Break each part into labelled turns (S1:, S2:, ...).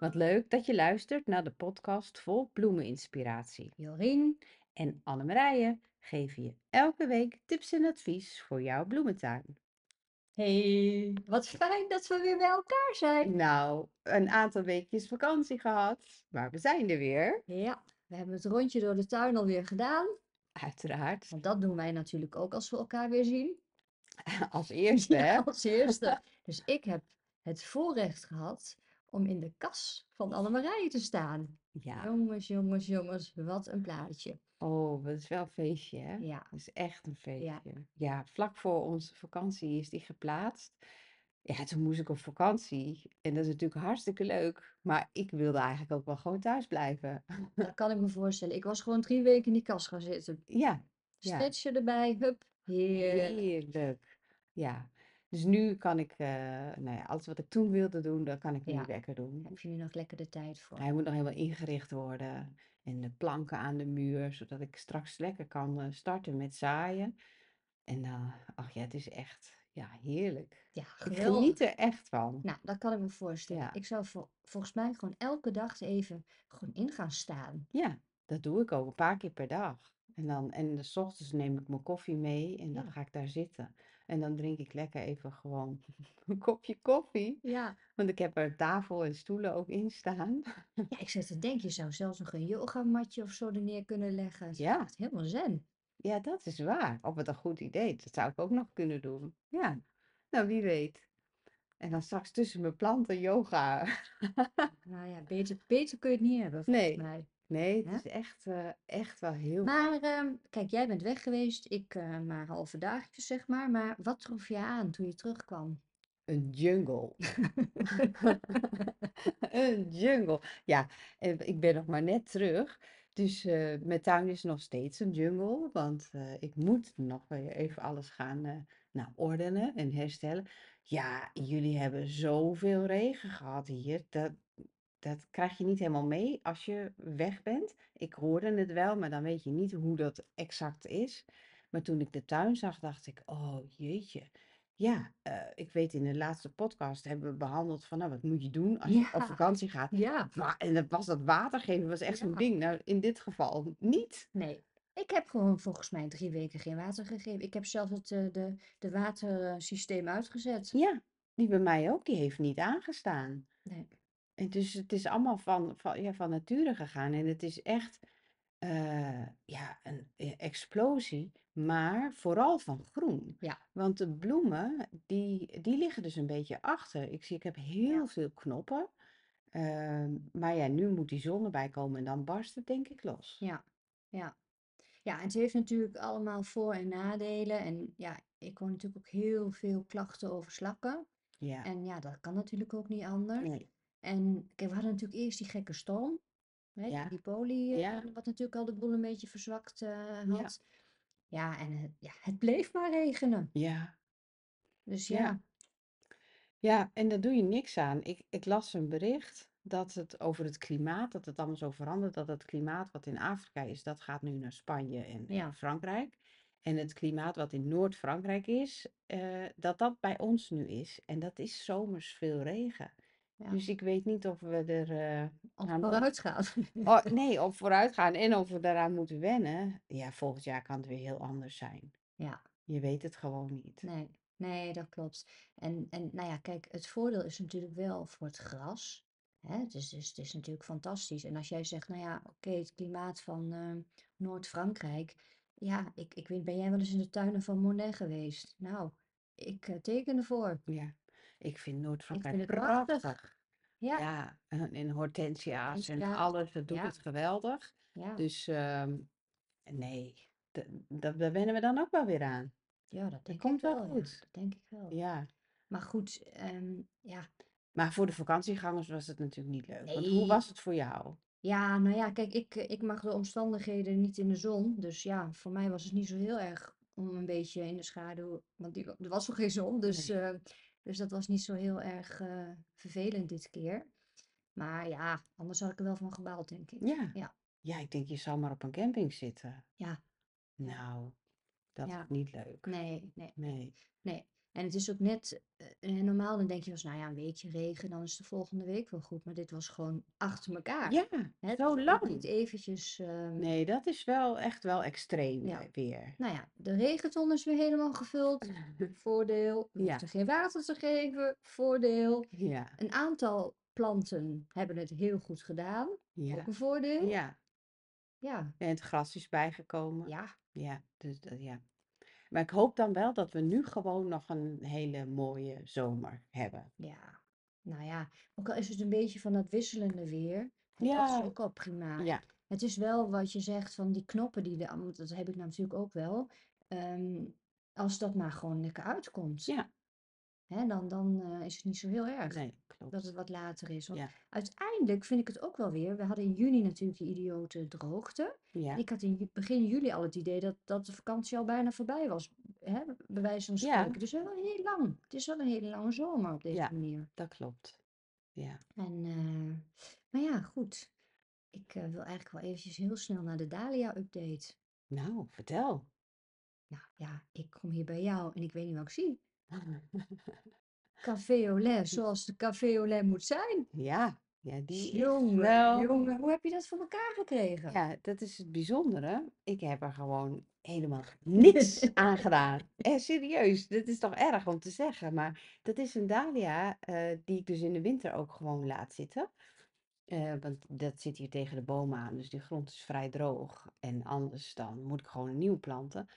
S1: Wat leuk dat je luistert naar de podcast vol bloemeninspiratie.
S2: Jorien,
S1: En Annemarije geven je elke week tips en advies voor jouw bloementuin.
S2: hey, wat fijn dat we weer bij elkaar zijn.
S1: Nou, een aantal weekjes vakantie gehad, maar we zijn er weer.
S2: Ja, we hebben het rondje door de tuin alweer gedaan.
S1: Uiteraard,
S2: Want dat doen wij natuurlijk ook als we elkaar weer zien.
S1: als eerste hè.
S2: Ja, als eerste. Dus ik heb het voorrecht gehad om in de kas van Annemarije te staan.
S1: Ja,
S2: Jongens, jongens, jongens, wat een plaatje.
S1: oh, dat is wel een feestje hè.
S2: Ja,
S1: Dat is echt een
S2: Ja.
S1: feestje. Ja, vlak voor onze vakantie is die geplaatst. Ja, toen moest ik op vakantie. En dat is natuurlijk hartstikke leuk. Maar ik wilde eigenlijk ook wel gewoon thuis blijven.
S2: dat kan ik me voorstellen. Ik was gewoon drie weken in die kas gaan zitten.
S1: Ja, ja.
S2: Stretchen erbij, hup, heerlijk.
S1: Heerlijk. Ja. Dus nu kan ik, eh, nou ja, alles wat ik toen wilde doen, dat kan ik nu
S2: Ja.
S1: lekker doen.
S2: Heb je nu nog lekker de tijd voor?
S1: Hij moet nog helemaal ingericht worden. En de planken aan de muur, zodat ik straks lekker kan eh, starten met zaaien. En dan, ach ja, het is echt, ja, heerlijk.
S2: Ja,
S1: Ik
S2: geweldig.
S1: geniet er echt van.
S2: Nou, dat kan ik me voorstellen.
S1: Ja.
S2: Ik zou vol- volgens mij gewoon elke dag even gewoon in gaan staan.
S1: Ja, dat doe ik ook een paar keer per dag. En dan, en de 's ochtends neem ik mijn koffie mee en dan
S2: Ja.
S1: ga ik daar zitten. En dan drink ik lekker even gewoon een kopje koffie.
S2: Ja.
S1: Want ik heb er tafel en stoelen ook in staan.
S2: Ja, ik zat te denken, je zou zelfs nog een yogamatje of zo er neer kunnen leggen. Het is
S1: Ja.
S2: echt helemaal zen.
S1: Ja, dat is waar. Of wat een goed idee. Dat zou ik ook nog kunnen doen. Ja, nou wie weet. En dan straks tussen mijn planten yoga.
S2: Nou ja, beter, beter kun je het niet hebben, volgens
S1: Nee.
S2: mij.
S1: Nee, het
S2: Nou, Ja.
S1: is echt, eh, echt wel heel.
S2: Maar ehm, kijk, jij bent weg geweest. Ik eh, maar halve dagjes, zeg maar. Maar wat trof je aan toen je terugkwam?
S1: Een jungle. Een jungle. Ja, eh, ik ben nog maar net terug. Dus eh, mijn tuin is nog steeds een jungle. Want eh, ik moet nog weer even alles gaan eh, nou, ordenen en herstellen. Ja, jullie hebben zoveel regen gehad hier. Dat, dat krijg je niet helemaal mee als je weg bent. Ik hoorde het wel, maar dan weet je niet hoe dat exact is. Maar toen ik de tuin zag, dacht ik, oh jeetje. Ja, eh, ik weet in de laatste podcast hebben we behandeld van, nou, wat moet je doen als je op
S2: Ja.
S1: vakantie gaat?
S2: Ja.
S1: Wa- En dat was dat watergeven was echt zo'n
S2: Ja.
S1: ding. Nou, in dit geval niet.
S2: Nee, ik heb gewoon volgens mij drie weken geen water gegeven. Ik heb zelfs het eh, de, de watersysteem uitgezet.
S1: Ja, die bij mij ook, die heeft niet aangestaan.
S2: Nee.
S1: En dus het is allemaal van, van, ja, van nature gegaan. En het is echt eh, ja, een eh, explosie, maar vooral van groen.
S2: Ja.
S1: Want de bloemen, die, die liggen dus een beetje achter. Ik zie, ik heb heel veel knoppen. ehm, maar ja, nu moet die zon erbij komen en dan barst het denk ik los.
S2: Ja, ja. Ja, het heeft natuurlijk allemaal voor- en nadelen. En ja, ik hoor natuurlijk ook heel veel klachten over slakken.
S1: Ja.
S2: En ja, dat kan natuurlijk ook niet anders.
S1: Nee.
S2: En kijk, we hadden natuurlijk eerst die gekke storm. Weet je,
S1: Ja.
S2: die poli, eh,
S1: Ja.
S2: wat natuurlijk al de boel een beetje verzwakt eh, had. Ja, en het, ja, het bleef maar regenen.
S1: Ja.
S2: Dus
S1: Ja.
S2: ja,
S1: Ja, en daar doe je niks aan. Ik, ik las een bericht dat het over het klimaat, dat het allemaal zo verandert, dat het klimaat wat in Afrika is, dat gaat nu naar Spanje en, en
S2: Ja.
S1: Frankrijk. En het klimaat wat in Noord-Frankrijk is, eh, dat dat bij ons nu is. En dat is zomers veel regen.
S2: Ja.
S1: Dus ik weet niet of we er eh,
S2: als
S1: aan
S2: het vooruit gaat.
S1: Oh, nee, op vooruit gaan en of we daaraan moeten wennen. Ja, volgend jaar kan het weer heel anders zijn.
S2: Ja.
S1: Je weet het gewoon niet.
S2: Nee, nee, dat klopt. En, en nou ja, kijk, het voordeel is natuurlijk wel voor het gras. Hè? Het is, dus, het is natuurlijk fantastisch. En als jij zegt, nou ja, oké, het klimaat van eh, Noord-Frankrijk. Ja, ik, ik weet, ben jij wel eens in de tuinen van Monet geweest? Nou, ik eh, teken ervoor.
S1: Ja, ik vind Noord-Frankrijk
S2: het prachtig. Ja,
S1: Ja, en en hortensia's en
S2: Hortensia,
S1: alles, dat doet
S2: ja.
S1: het geweldig.
S2: ja,
S1: Dus ehm, nee, d- dat daar wennen we dan ook wel weer aan.
S2: ja, dat denk
S1: komt
S2: ik
S1: wel
S2: wel. ja.
S1: goed.
S2: Dat denk ik wel.
S1: Ja,
S2: Maar goed, ehm, ja,
S1: maar voor de vakantiegangers was het natuurlijk niet leuk. Want hoe
S2: Nee.
S1: was het voor jou?
S2: Ja, nou ja, kijk, ik, eh, ik mag de omstandigheden niet in de zon. Dus ja, voor mij was het niet zo heel erg om een beetje in de schaduw. Want die, wa- er was nog geen zon. Dus, eh, dus dat was niet zo heel erg eh, vervelend dit keer. Maar ja, anders had ik er wel van gebaald, denk ik.
S1: Ja.
S2: Ja.
S1: Ja, ik denk je zal maar op een camping zitten.
S2: Ja, Ja.
S1: Nou, dat
S2: Ja.
S1: is niet leuk.
S2: nee, nee,
S1: Nee.
S2: nee. En het is ook net, eh, eh, normaal dan denk je wel eens, nou ja, een weekje regen, dan is de volgende week wel goed. Maar dit was gewoon achter elkaar.
S1: Ja,
S2: Hè, het
S1: zo
S2: was ook niet
S1: lang.
S2: eventjes, ehm,
S1: Nee, dat is wel echt wel extreem
S2: ja.
S1: eh, weer.
S2: Nou ja, de regenton is weer helemaal gevuld. Voordeel. We
S1: Ja,
S2: hoefden geen water te geven. Voordeel.
S1: ja,
S2: Een aantal planten hebben het heel goed gedaan. Ook
S1: ja,
S2: een voordeel.
S1: ja.
S2: Ja,
S1: En het gras is bijgekomen.
S2: ja.
S1: Ja, dus dat, ja. Maar ik hoop dan wel dat we nu gewoon nog een hele mooie zomer hebben.
S2: Ja, nou ja, ook al is het een beetje van dat wisselende weer, hè, dat is
S1: Ja,
S2: ook al prima.
S1: ja,
S2: Het is wel wat je zegt van die knoppen die er, want dat heb ik natuurlijk ook wel. ehm, als dat maar gewoon lekker uitkomt,
S1: ja.
S2: hè, dan, dan eh, is het niet zo heel erg
S1: Nee,
S2: dat het
S1: klopt.
S2: wat later is. Want
S1: Ja,
S2: uiteindelijk vind ik het ook wel weer. We hadden in juni natuurlijk die idiote droogte. En
S1: ja,
S2: ik had in ju- begin juli al het idee dat, dat de vakantie al bijna voorbij was, hè, bij wijze van
S1: ja,
S2: spreken. Dus wel heel lang. Het is wel een hele lange zomer op deze
S1: ja,
S2: manier.
S1: dat klopt. Ja.
S2: En, eh, maar ja, goed. Ik eh, wil eigenlijk wel eventjes heel snel naar de Dahlia-update.
S1: Nou, vertel.
S2: Nou ja, ik kom hier bij jou en ik weet niet wat ik zie. Café au lait, zoals de café au lait moet zijn.
S1: Ja, ja, die is
S2: Jongen,
S1: wel.
S2: jongen, hoe heb je dat voor elkaar gekregen?
S1: Ja, dat is het bijzondere. Ik heb er gewoon helemaal niets aan gedaan. En serieus, dat is toch erg om te zeggen. Maar dat is een dahlia eh, die ik dus in de winter ook gewoon laat zitten. Eh, want dat zit hier tegen de bomen aan, dus die grond is vrij droog. En anders dan moet ik gewoon een nieuw planten.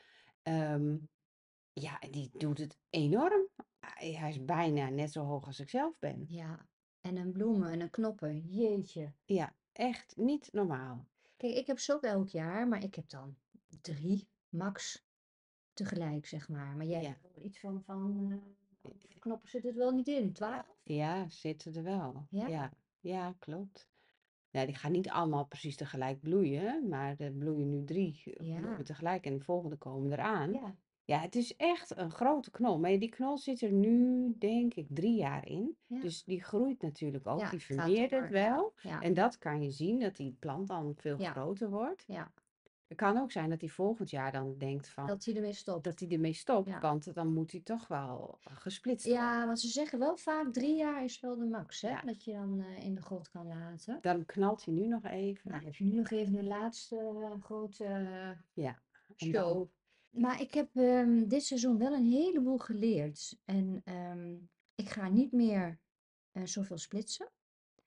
S1: Ehm, ja, en die doet het enorm. Hij hij is bijna net zo hoog als ik zelf ben.
S2: Ja, en een bloemen en een knoppen, jeetje.
S1: Ja, echt niet normaal.
S2: Kijk, ik heb ze ook elk jaar, maar ik heb dan drie, max, tegelijk, zeg maar. Maar jij
S1: Ja,
S2: hebt wel iets van, van eh, hoeveel knoppen zit het wel niet in? Twaalf?
S1: ja, zitten er wel.
S2: Ja,
S1: Ja, ja, klopt. Nou, die gaan niet allemaal precies tegelijk bloeien, maar er bloeien nu drie eh,
S2: ja,
S1: bloemen tegelijk en de volgende komen eraan.
S2: ja.
S1: Ja, het is echt een grote knol. Maar die knol zit er nu, denk ik, drie jaar in.
S2: Ja,
S1: Dus die groeit natuurlijk ook,
S2: ja,
S1: die
S2: gaat
S1: vermeerdert
S2: door. Ja,
S1: wel.
S2: ja,
S1: En dat kan je zien, dat die plant dan veel
S2: ja,
S1: groter wordt.
S2: ja.
S1: Het kan ook zijn dat hij volgend jaar dan denkt van,
S2: Dat hij ermee
S1: dat
S2: stopt.
S1: hij ermee stopt,
S2: Ja.
S1: want dan moet hij toch wel eh, gesplitst worden.
S2: Ja, want ze zeggen wel vaak drie jaar is wel de max, hè?
S1: Ja,
S2: Dat je dan eh, in de grond kan laten.
S1: daarom knalt hij nu nog
S2: Nou,
S1: even.
S2: heb je nu nog even een laatste eh, grote eh,
S1: Ja, en dan,
S2: show. Maar ik heb ehm, dit seizoen wel een heleboel geleerd. En ehm, ik ga niet meer eh, zoveel splitsen.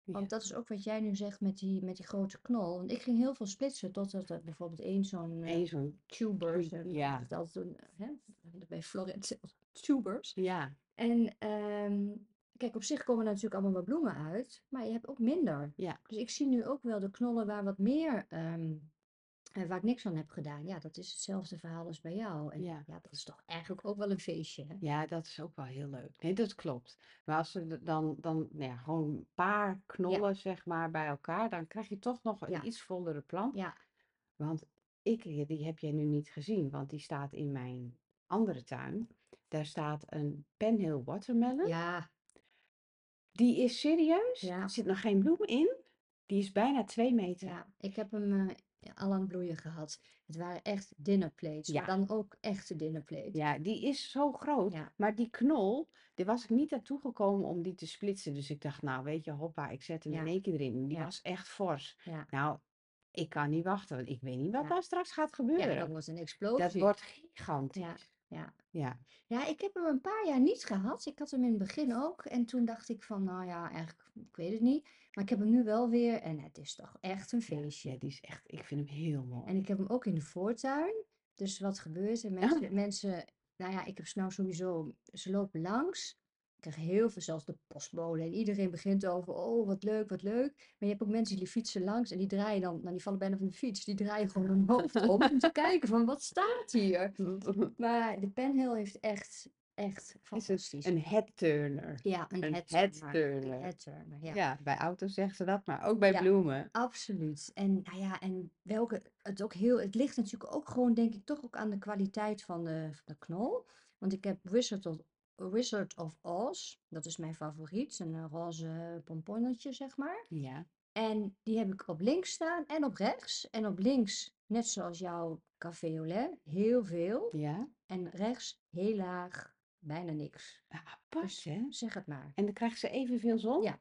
S1: ja,
S2: Want dat is ook wat jij nu zegt met die, met die grote knol. Want ik ging heel veel splitsen totdat er bijvoorbeeld één zo'n eh,
S1: één zo'n
S2: tuber,
S1: tube,
S2: ze noemen
S1: ja,
S2: het altijd een, hè, bij Florent zelfs, tubers.
S1: ja,
S2: En ehm, kijk, op zich komen er natuurlijk allemaal wat bloemen uit, maar je hebt ook minder.
S1: ja,
S2: Dus ik zie nu ook wel de knollen waar wat meer, ehm, eh, waar ik niks aan heb gedaan. Ja, dat is hetzelfde verhaal als bij jou. En
S1: ja.
S2: ja, dat is toch eigenlijk ook wel een feestje, hè?
S1: Ja, dat is ook wel heel leuk. Nee, dat klopt. Maar als we dan, dan nou ja, gewoon een paar
S2: Ja,
S1: knollen zeg maar bij elkaar, dan krijg je toch nog een
S2: ja,
S1: iets vollere plant.
S2: ja,
S1: Want ik, die heb jij nu niet gezien, want die staat in mijn andere tuin. Daar staat een Penhill watermelon.
S2: ja,
S1: Die is serieus, er
S2: ja,
S1: zit nog geen bloem in. Die is bijna twee meter.
S2: ja. Ik heb hem eh al aan het bloeien gehad. Het waren echt dinnerplates, maar
S1: Ja,
S2: dan ook echte dinnerplates.
S1: ja, die is zo groot.
S2: Ja,
S1: Maar die knol, daar was ik niet naartoe gekomen om die te splitsen. Dus ik dacht, nou weet je, hoppa, ik zet hem in
S2: ja,
S1: één keer erin. Die
S2: ja,
S1: was echt fors.
S2: ja,
S1: Nou, ik kan niet wachten, want ik weet niet wat
S2: ja.
S1: daar straks gaat
S2: Ja, dat
S1: gebeuren.
S2: was een
S1: Dat
S2: explosie.
S1: wordt
S2: Ja,
S1: gigantisch.
S2: ja.
S1: Ja,
S2: Ja, ik heb hem een paar jaar niet gehad. Ik had hem in het begin ook. En toen dacht ik van, nou ja, eigenlijk, ik weet het niet. Maar ik heb hem nu wel weer. En het is toch echt een
S1: ja, ja,
S2: feestje.
S1: die is echt, ik vind hem heel mooi.
S2: En ik heb hem ook in de voortuin. Dus wat gebeurt er?
S1: Ah.
S2: Mensen, mensen, nou ja, ik heb ze nou sowieso, ze lopen langs. Ik krijg heel veel, zelfs de postbode. En iedereen begint over, oh, wat leuk, wat leuk. Maar je hebt ook mensen die fietsen langs en die draaien dan, nou die vallen bijna van de fiets. Die draaien gewoon hun hoofd om om te kijken van, wat staat hier? Maar de Penhill heeft echt, echt
S1: Is het
S2: fantastisch.
S1: een headturner?
S2: Ja, een
S1: Een
S2: headturner. Een
S1: headturner.
S2: headturner, ja.
S1: Ja, bij auto's zeggen ze dat, maar ook bij
S2: Ja,
S1: bloemen.
S2: absoluut. En nou ja, en welke het ook heel, het ligt natuurlijk ook gewoon, denk ik, toch ook aan de kwaliteit van de, van de knol. Want ik heb Wizard of, Wizard of Oz, dat is mijn favoriet, een eh, roze pomponnetje, zeg maar.
S1: Ja,
S2: En die heb ik op links staan en op rechts. En op links, net zoals jouw café au lait, heel veel.
S1: ja,
S2: En rechts heel laag. bijna niks.
S1: Ja, Ah, apart,
S2: Dus
S1: hè?
S2: zeg het maar.
S1: En dan krijgt ze evenveel zon?
S2: Ja.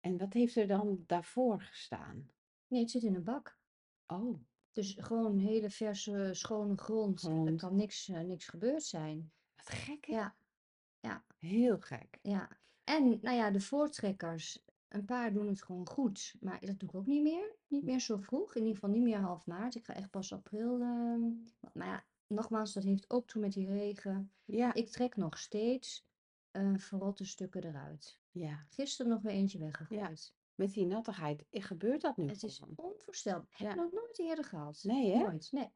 S1: En wat heeft er dan daarvoor gestaan?
S2: Nee, het zit in een bak.
S1: Oh,
S2: Dus gewoon hele verse, schone grond. Er
S1: Grond.
S2: kan niks, eh, niks gebeurd zijn.
S1: wat gek, hè?
S2: Ja, ja,
S1: Heel gek.
S2: ja. En nou ja, de voortrekkers. Een paar doen het gewoon goed. Maar dat doe ik ook niet meer. Niet meer zo vroeg. In ieder geval niet meer half maart. Ik ga echt pas april. ehm, maar ja, nogmaals, dat heeft ook toen met die regen.
S1: Ja,
S2: Ik trek nog steeds eh verrotte stukken eruit.
S1: ja.
S2: Gisteren nog weer eentje weggegooid.
S1: Met die nattigheid eh, gebeurt dat nu
S2: Het is
S1: gewoon.
S2: onvoorstelbaar. Heb
S1: Ja.
S2: ik nog nooit eerder gehad.
S1: Nee, hè?
S2: Nooit. Nee.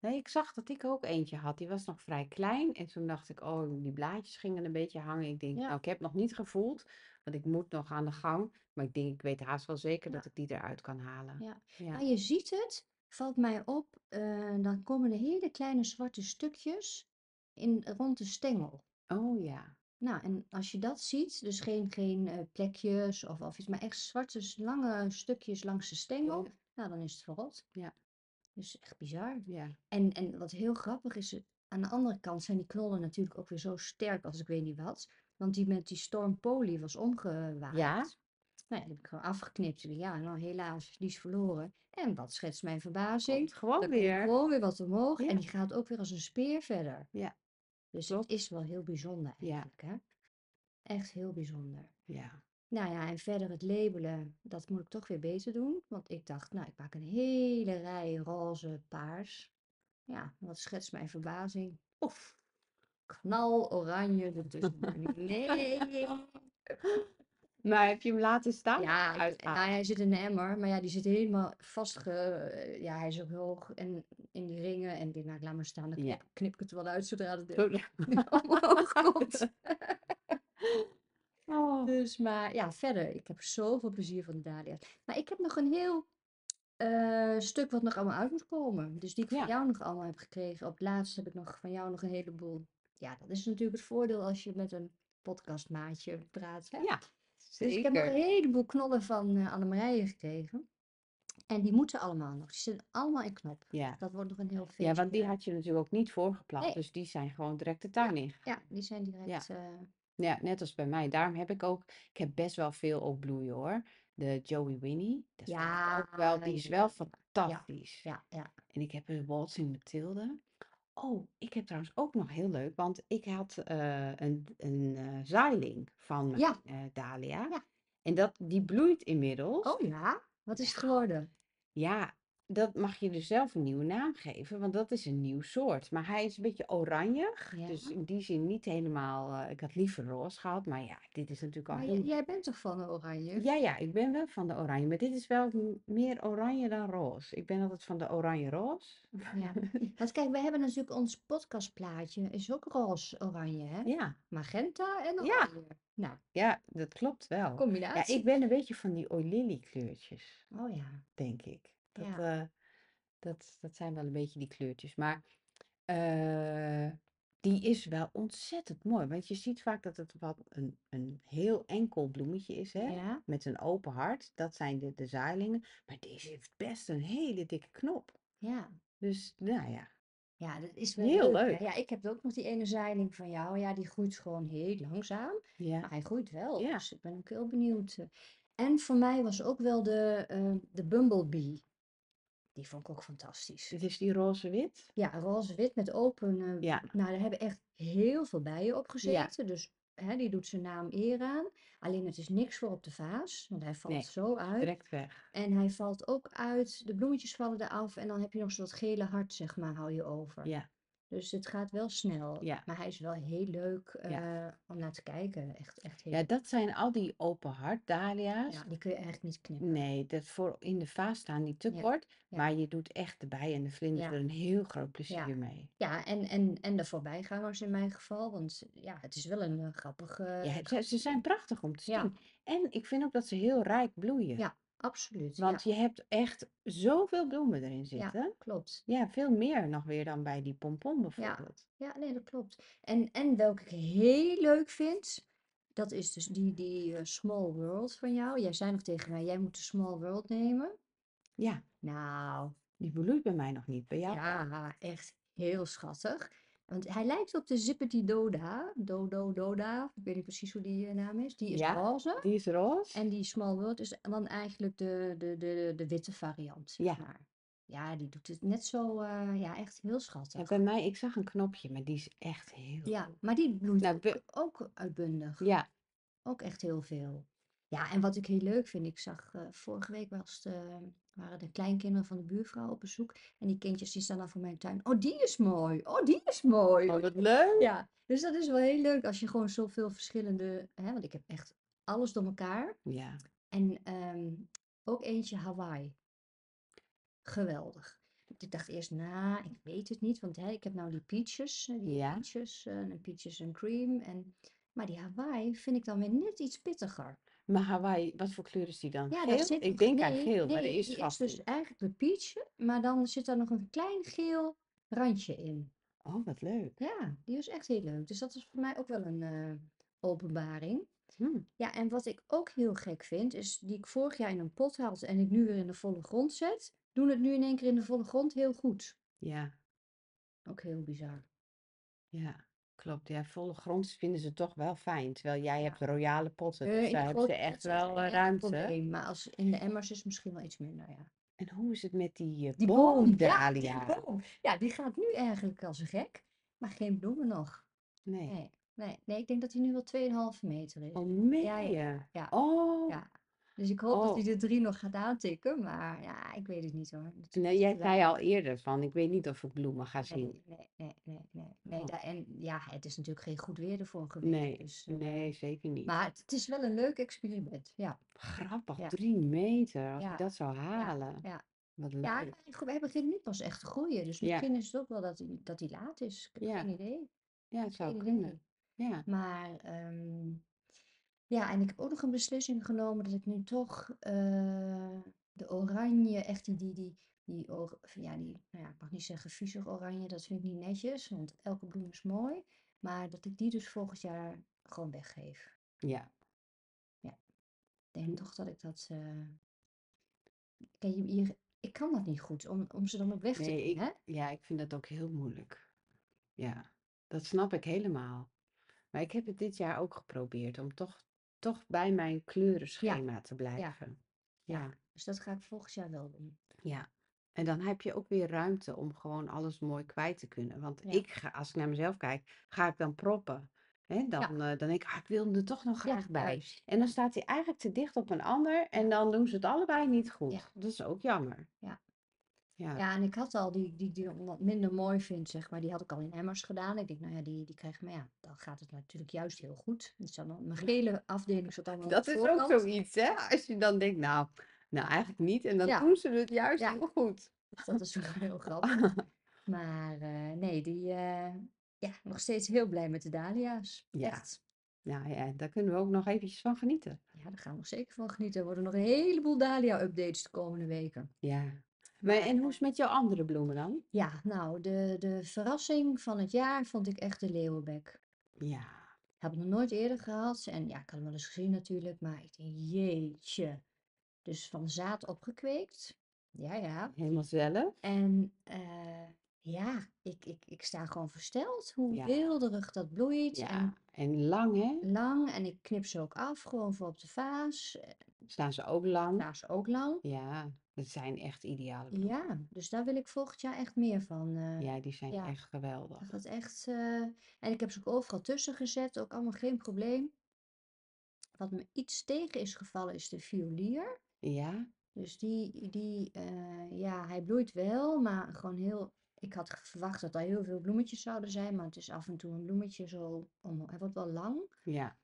S1: Nee, ik zag dat ik ook eentje had. Die was nog vrij klein. En toen dacht ik, oh, die blaadjes gingen een beetje hangen. Ik denk,
S2: Ja.
S1: nou, ik heb nog niet gevoeld, want ik moet nog aan de gang. Maar ik denk, ik weet haast wel zeker
S2: Ja.
S1: dat ik die eruit kan halen.
S2: Ja.
S1: Ja.
S2: Nou, je ziet het, valt mij op, eh, dan komen er hele kleine zwarte stukjes in, rond de stengel.
S1: Oh ja.
S2: Nou, en als je dat ziet, dus geen, geen eh, plekjes of, of iets, maar echt zwarte s- lange stukjes langs de stengel,
S1: Ja.
S2: nou dan is het verrot.
S1: Ja.
S2: Dus echt bizar.
S1: Ja.
S2: En, en wat heel grappig is, eh, aan de andere kant zijn die knollen natuurlijk ook weer zo sterk als ik weet niet wat. Want die met die storm Poli was omgewaaid. Nou ja, die heb ik gewoon afgeknipt. Ja, nou helaas, die is verloren. En wat schetst mijn verbazing?
S1: Komt gewoon
S2: Er komt
S1: weer.
S2: gewoon weer wat omhoog
S1: Ja.
S2: en die gaat ook weer als een speer verder.
S1: Ja,
S2: Dus
S1: klopt.
S2: het is wel heel bijzonder
S1: Ja.
S2: eigenlijk, hè? Echt heel bijzonder.
S1: Ja.
S2: Nou ja, en verder het labelen, dat moet ik toch weer beter doen. Want ik dacht, nou, ik maak een hele rij roze, paars. Ja, wat schetst mijn verbazing? Oef, knal oranje ertussen. Nee.
S1: Maar Nou, heb je hem laten staan?
S2: Ja, ik-
S1: Uit- ah,
S2: nou ja, hij zit in een emmer, maar ja, die zit helemaal vastge... eh, Ja, hij is ook hoog en in die ringen. En ik denk, nou, ik laat maar staan, dan
S1: Ja.
S2: knip, knip ik het wel uit zodra het
S1: Zo-
S2: omhoog komt.
S1: Oh.
S2: Dus, maar ja, verder, ik heb zoveel plezier van de dahlia's. Maar ik heb nog een heel eh, stuk wat nog allemaal uit moet komen. Dus die ik van
S1: Ja.
S2: jou nog allemaal heb gekregen. Op het laatst heb ik nog van jou nog een heleboel. Ja, dat is natuurlijk het voordeel als je met een podcastmaatje praat, hè?
S1: Ja,
S2: Dus ik heb nog
S1: zeker.
S2: een heleboel knollen van eh Annemarije gekregen. En die moeten allemaal nog. Die zitten allemaal in knop.
S1: Ja.
S2: Dat wordt nog een heel feestje.
S1: Ja, want die had je natuurlijk ook niet voorgeplant.
S2: Nee.
S1: Dus die zijn gewoon direct de tuin in.
S2: Ja, die zijn direct... eh,
S1: Ja, net als bij mij. Daarom heb ik ook, ik heb best wel veel ook bloeien hoor. De Joey Winnie, dat vind ik
S2: Ja,
S1: ook wel, die is
S2: ja,
S1: wel
S2: ja, ja.
S1: fantastisch.
S2: ja, ja.
S1: En ik heb een Waltzing Mathilde. Oh, ik heb trouwens ook nog heel leuk, want ik had eh, een, een eh, zaailing van mijn
S2: Ja.
S1: eh, dahlia.
S2: Ja.
S1: En dat, die bloeit inmiddels.
S2: Oh ja? Wat is het geworden?
S1: Ja, dat mag je dus zelf een nieuwe naam geven, want dat is een nieuw soort. Maar hij is een beetje oranjig,
S2: Ja.
S1: dus in die zin niet helemaal. eh, ik had liever roze gehad, maar ja, dit is natuurlijk al
S2: Maar
S1: heel.
S2: j- jij bent toch van de oranje?
S1: Ja, ja, ik ben wel van de oranje, maar dit is wel m- meer oranje dan roze. Ik ben altijd van de oranje-roze.
S2: Ja. Want kijk, we hebben natuurlijk ons podcastplaatje. Is ook roze-oranje, hè?
S1: Ja,
S2: Magenta en
S1: Ja.
S2: oranje. Nou,
S1: ja, dat klopt wel. Ja,
S2: combinatie.
S1: ik ben een beetje van die oilily kleurtjes,
S2: Oh ja.
S1: denk ik. Dat,
S2: Ja.
S1: eh, dat, dat zijn wel een beetje die kleurtjes. Maar eh, die is wel ontzettend mooi. Want je ziet vaak dat het wat een, een heel enkel bloemetje is, hè?
S2: Ja?
S1: Met een open hart. Dat zijn de, de zaailingen. Maar deze heeft best een hele dikke knop.
S2: Ja.
S1: Dus, nou ja.
S2: Ja, dat is wel
S1: Heel
S2: hè?
S1: leuk.
S2: Ja, ik heb ook nog die ene zeiling van jou. Ja, die groeit gewoon heel langzaam.
S1: Ja.
S2: Maar hij groeit wel.
S1: Ja.
S2: Dus ik ben ook heel benieuwd. eh. En voor mij was ook wel de, eh, de Bumblebee. Die vond ik ook fantastisch.
S1: Dit is die roze-wit.
S2: Ja, roze-wit met open. eh,
S1: Ja.
S2: Nou, daar hebben echt heel veel bijen op gezeten. Dus hè, die doet zijn naam eer aan. Alleen het is niks voor op de vaas. Want hij valt
S1: Nee,
S2: zo uit.
S1: Direct weg.
S2: En hij valt ook uit. De bloemetjes vallen eraf. En dan heb je nog zo'n wat gele hart, zeg maar, hou je over.
S1: Ja.
S2: Dus het gaat wel snel.
S1: Ja.
S2: Maar hij is wel heel leuk eh, om naar te kijken. Echt, echt heel
S1: Ja, dat zijn al die open hart dahlia's.
S2: ja, die kun je eigenlijk niet knippen.
S1: Nee, dat voor in de vaas staan die te
S2: Ja,
S1: kort.
S2: ja.
S1: Maar je doet echt de bijen en de vlinders
S2: Ja.
S1: er een heel groot plezier
S2: Ja.
S1: mee.
S2: Ja, en, en, en de voorbijgangers in mijn geval. Want ja, het is wel een eh, grappige.
S1: Ja, het zijn- ze zijn prachtig om te zien.
S2: Ja.
S1: En ik vind ook dat ze heel rijk bloeien.
S2: Ja, absoluut. ja.
S1: Want je hebt echt zoveel bloemen erin zitten.
S2: Klopt.
S1: Ja, veel meer nog weer dan bij die pompon bijvoorbeeld.
S2: Ja, nee, dat klopt. En, en welke ik heel leuk vind, dat is dus die, die eh, Small World van jou. Jij zei nog tegen mij, jij moet de Small World nemen.
S1: Ja,
S2: Nou,
S1: die bloeit bij mij nog niet. Bij jou?
S2: ja, echt heel schattig. Want hij lijkt op de Zippity Doda. Dodo Doda. Ik weet niet precies hoe die eh, naam is. Die is
S1: Ja,
S2: roze.
S1: die is roze.
S2: En die Small World is dan eigenlijk de, de, de, de witte variant, zeg
S1: Ja,
S2: maar. Ja, die doet het net zo, eh, ja, echt heel
S1: en bij
S2: schattig.
S1: mij, ik zag een knopje, maar die is echt heel
S2: Ja,
S1: goed.
S2: maar die bloeit
S1: Nou,
S2: ook,
S1: we-
S2: ook uitbundig.
S1: ja,
S2: Ook echt heel veel. Ja, en wat ik heel leuk vind, ik zag eh, vorige week was de, waren de kleinkinderen van de buurvrouw op bezoek. En die kindjes die staan dan voor mijn tuin. Oh, die is mooi. Oh, die is mooi.
S1: oh,
S2: Oh,
S1: wat
S2: die...
S1: leuk.
S2: Ja, dus dat is wel heel leuk als je gewoon zoveel verschillende. Hè, want ik heb echt alles door elkaar.
S1: Ja,
S2: En ehm, ook eentje Hawaii. Geweldig. Want Ik dacht eerst, nou, ik weet het niet, want hè, ik heb nou die peaches, eh, die
S1: ja.
S2: peaches eh, en peaches en cream. En... Maar die Hawaii vind ik dan weer net iets pittiger.
S1: Maar Hawaii, wat voor kleur is die dan?
S2: Ja, daar
S1: Geel?
S2: zit
S1: Ik
S2: iets.
S1: denk aan
S2: Nee,
S1: geel, maar er
S2: nee,
S1: is
S2: die is
S1: vast
S2: dus
S1: iets.
S2: eigenlijk de peach, maar dan zit daar nog een klein geel randje in.
S1: Oh, wat leuk.
S2: Ja, die was echt heel leuk. Dus dat is voor mij ook wel een eh, openbaring.
S1: Hm.
S2: Ja, en wat ik ook heel gek vind, is die ik vorig jaar in een pot had en ik nu weer in de volle grond zet, doen het nu in één keer in de volle grond heel goed.
S1: Ja,
S2: Ook heel bizar.
S1: ja, klopt. Ja, volle grond vinden ze toch wel fijn. Terwijl jij
S2: Ja.
S1: hebt royale potten,
S2: Eh,
S1: dus
S2: in die
S1: daar hebben ze
S2: grote
S1: echt
S2: pot is
S1: wel eh,
S2: echt een
S1: ruimte.
S2: probleem, maar als in de emmers is misschien wel iets minder, ja.
S1: En hoe is het met die eh,
S2: Die boom, ja, die
S1: boomdalia?
S2: boom. Ja, die gaat nu eigenlijk als een gek, maar geen bloemen nog.
S1: Nee.
S2: Nee, nee, nee, ik denk dat hij nu wel 2,5 meter is.
S1: Oh,
S2: Ja, ja,
S1: meen je?
S2: ja, ja,
S1: Oh,
S2: ja. Dus ik hoop dat hij
S1: oh.
S2: de drie nog gaat aantikken, maar ja, ik weet het niet hoor. Het is
S1: Nee,
S2: te
S1: jij zei
S2: weinig.
S1: al eerder van, ik weet niet of ik bloemen ga zien.
S2: Nee, nee, nee, nee, nee. nee
S1: Oh,
S2: daar, en ja, het is natuurlijk geen goed weer ervoor geweest.
S1: nee,
S2: Dus, eh,
S1: nee, zeker niet.
S2: maar het, het is wel een leuk experiment. Ja,
S1: Grappig,
S2: ja,
S1: drie meter, als ik
S2: ja,
S1: dat zou
S2: ja,
S1: halen.
S2: ja.
S1: Wat
S2: Ja,
S1: leuk.
S2: hij, hij begint nu pas echt te groeien. Dus
S1: Ja,
S2: misschien is het ook wel dat hij, dat hij laat is. Ik heb geen
S1: ja,
S2: idee.
S1: ja, het zou
S2: Geen idee.
S1: kunnen. Ja,
S2: Maar ehm, ja, en ik heb ook nog een beslissing genomen dat ik nu toch eh, de oranje, echt die, die, die, die, or- ja, die, nou ja, ik mag niet zeggen viezig oranje, dat vind ik niet netjes, want elke bloem is mooi. Maar dat ik die dus volgend jaar gewoon weggeef.
S1: ja. Hm.
S2: Ja, ik denk toch dat ik dat. eh, ken je, hier, ik kan dat niet goed om, om ze dan ook weg te
S1: Nee,
S2: doen,
S1: ik,
S2: hè?
S1: ja, ik vind dat ook heel moeilijk. Ja, dat snap ik helemaal. Maar ik heb het dit jaar ook geprobeerd om toch, toch bij mijn
S2: Ja,
S1: kleurenschema te
S2: ja,
S1: blijven.
S2: ja.
S1: Ja,
S2: Dus dat ga ik volgend jaar wel doen.
S1: ja. En dan heb je ook weer ruimte om gewoon alles mooi kwijt te kunnen. Want
S2: Ja,
S1: ik ga, als ik naar mezelf kijk, ga ik dan proppen. Hè, dan,
S2: ja,
S1: eh, dan denk ik, ah, ik wil hem er toch nog
S2: ja,
S1: graag bij.
S2: juist.
S1: En dan staat hij eigenlijk te dicht op een ander
S2: Ja,
S1: en dan doen ze het allebei niet
S2: ja,
S1: goed. Dat is ook jammer.
S2: ja.
S1: Ja,
S2: Ja, en ik had al die, die, die ik wat minder mooi vind, zeg maar, die had ik al in emmers gedaan. Ik denk, nou ja, die, die krijg ik, maar ja, dan gaat het natuurlijk juist heel goed. Dus dan, mijn gele afdeling zat allemaal aan
S1: Dat
S2: de
S1: is ook
S2: voorkant.
S1: zoiets, hè? Als je dan denkt, nou, nou eigenlijk niet. En dan
S2: Ja,
S1: doen ze het juist
S2: ja,
S1: heel goed.
S2: dus dat is wel heel grappig. Maar eh, nee, die, eh, ja, nog steeds heel blij met de dahlia's.
S1: Ja,
S2: Echt.
S1: nou ja, daar kunnen we ook nog eventjes van genieten.
S2: Ja, daar gaan we nog zeker van genieten. Er worden nog een heleboel dahlia-updates de komende weken.
S1: Ja. Maar
S2: Maar
S1: en hoe
S2: eh,
S1: is het met jouw andere bloemen dan?
S2: ja, nou, de, de verrassing van het jaar vond ik echt de leeuwenbek.
S1: Ja,
S2: Heb ik nog nooit eerder gehad. En ja, ik had hem wel eens gezien natuurlijk, maar ik denk, jeetje. Dus van zaad opgekweekt. Ja, ja.
S1: helemaal zelf.
S2: En eh, ja, ik, ik, ik sta gewoon versteld hoe
S1: Ja,
S2: weelderig dat bloeit.
S1: ja.
S2: En
S1: En lang, hè?
S2: lang. En ik knip ze ook af, gewoon voor op de vaas. Eh,
S1: Staan ze ook lang?
S2: Daar ze ook lang.
S1: Ja, dat zijn echt ideale bloemen.
S2: Ja, dus daar wil ik volgend jaar echt meer van. eh,
S1: Ja, die zijn
S2: ja,
S1: echt
S2: dat
S1: geweldig.
S2: gaat echt. eh, En ik heb ze ook overal tussen gezet, ook allemaal geen probleem. Wat me iets tegen is gevallen is de violier.
S1: Ja,
S2: Dus die, die eh, ja, hij bloeit wel, maar gewoon heel. Ik had ge- verwacht dat er heel veel bloemetjes zouden zijn, maar het is af en toe een bloemetje zo. om- hij wordt wel lang,
S1: ja.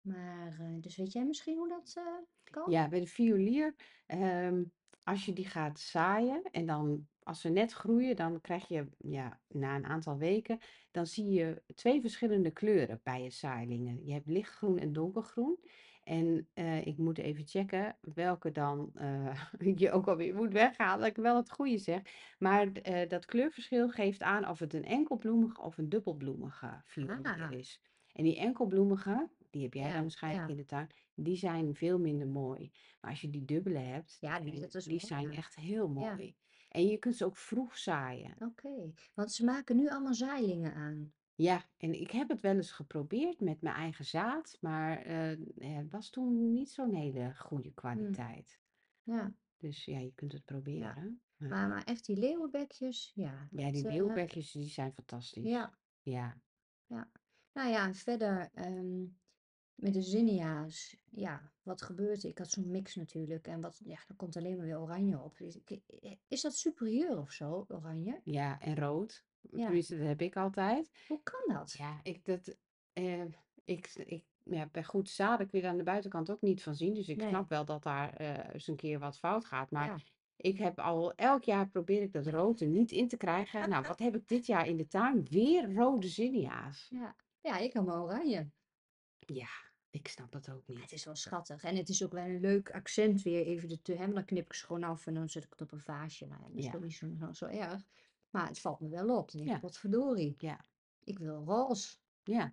S2: maar. eh, dus weet jij misschien hoe dat eh, kan?
S1: Ja, bij de violier, ehm, als je die gaat zaaien en dan als ze net groeien, dan krijg je ja, na een aantal weken, dan zie je twee verschillende kleuren bij je zaailingen. Je hebt lichtgroen en donkergroen. En eh, ik moet even checken welke dan eh, je ook alweer moet weghalen, dat ik wel het goede zeg. Maar eh, dat kleurverschil geeft aan of het een enkelbloemige of een dubbelbloemige violier
S2: Ah,
S1: is. En die enkelbloemige, die heb jij dan
S2: ja,
S1: waarschijnlijk
S2: ja.
S1: in de tuin, die zijn veel minder mooi. Maar als je die dubbele hebt,
S2: Ja, die,
S1: en
S2: dat is
S1: die
S2: mooi.
S1: zijn
S2: Ja,
S1: echt heel
S2: ja,
S1: mooi. En je kunt ze ook vroeg zaaien.
S2: Oké, want ze maken nu allemaal zaailingen aan.
S1: Ja, en ik heb het wel eens geprobeerd met mijn eigen zaad, maar eh, het was toen niet zo'n hele goede
S2: Hm,
S1: kwaliteit.
S2: ja,
S1: Dus ja, je kunt het
S2: ja.
S1: proberen. Ja,
S2: Maar, maar echt die leeuwenbekjes, ja,
S1: ja die
S2: dat, eh,
S1: leeuwbekjes, die zijn fantastisch.
S2: ja,
S1: Ja,
S2: ja. Nou ja, en verder ehm, met de zinnia's, ja, wat gebeurt er? Ik had zo'n mix natuurlijk en wat, ja, er komt alleen maar weer oranje op. Is, ik- eh, is dat superieur of zo, oranje?
S1: ja, en rood.
S2: Ja,
S1: Tenminste, dat heb ik altijd.
S2: hoe kan dat?
S1: Ja, ik, dat, eh, ik, ik ja, bij goed zaad, ik wil aan de buitenkant ook niet van zien. Dus ik snap
S2: Nee,
S1: wel dat daar eh, eens een keer wat fout gaat. Maar
S2: ja.
S1: ik heb al elk jaar probeer ik dat rood er niet in te krijgen. Nou, wat heb ik dit jaar in de tuin? Weer rode zinnia's.
S2: Ja, ja, ik had maar oranje.
S1: Ja, ik snap dat ook
S2: Maar Het
S1: niet.
S2: is wel schattig. En het is ook wel een leuk accent weer even er te hebben. Dan knip ik ze gewoon af en dan zet ik het op een vaasje. Nou ja, dat is
S1: Ja,
S2: toch niet zo, zo, zo erg. Maar het valt me wel op. Dan denk ik,
S1: ja,
S2: wat verdorie.
S1: ja,
S2: Ik wil roze.
S1: ja.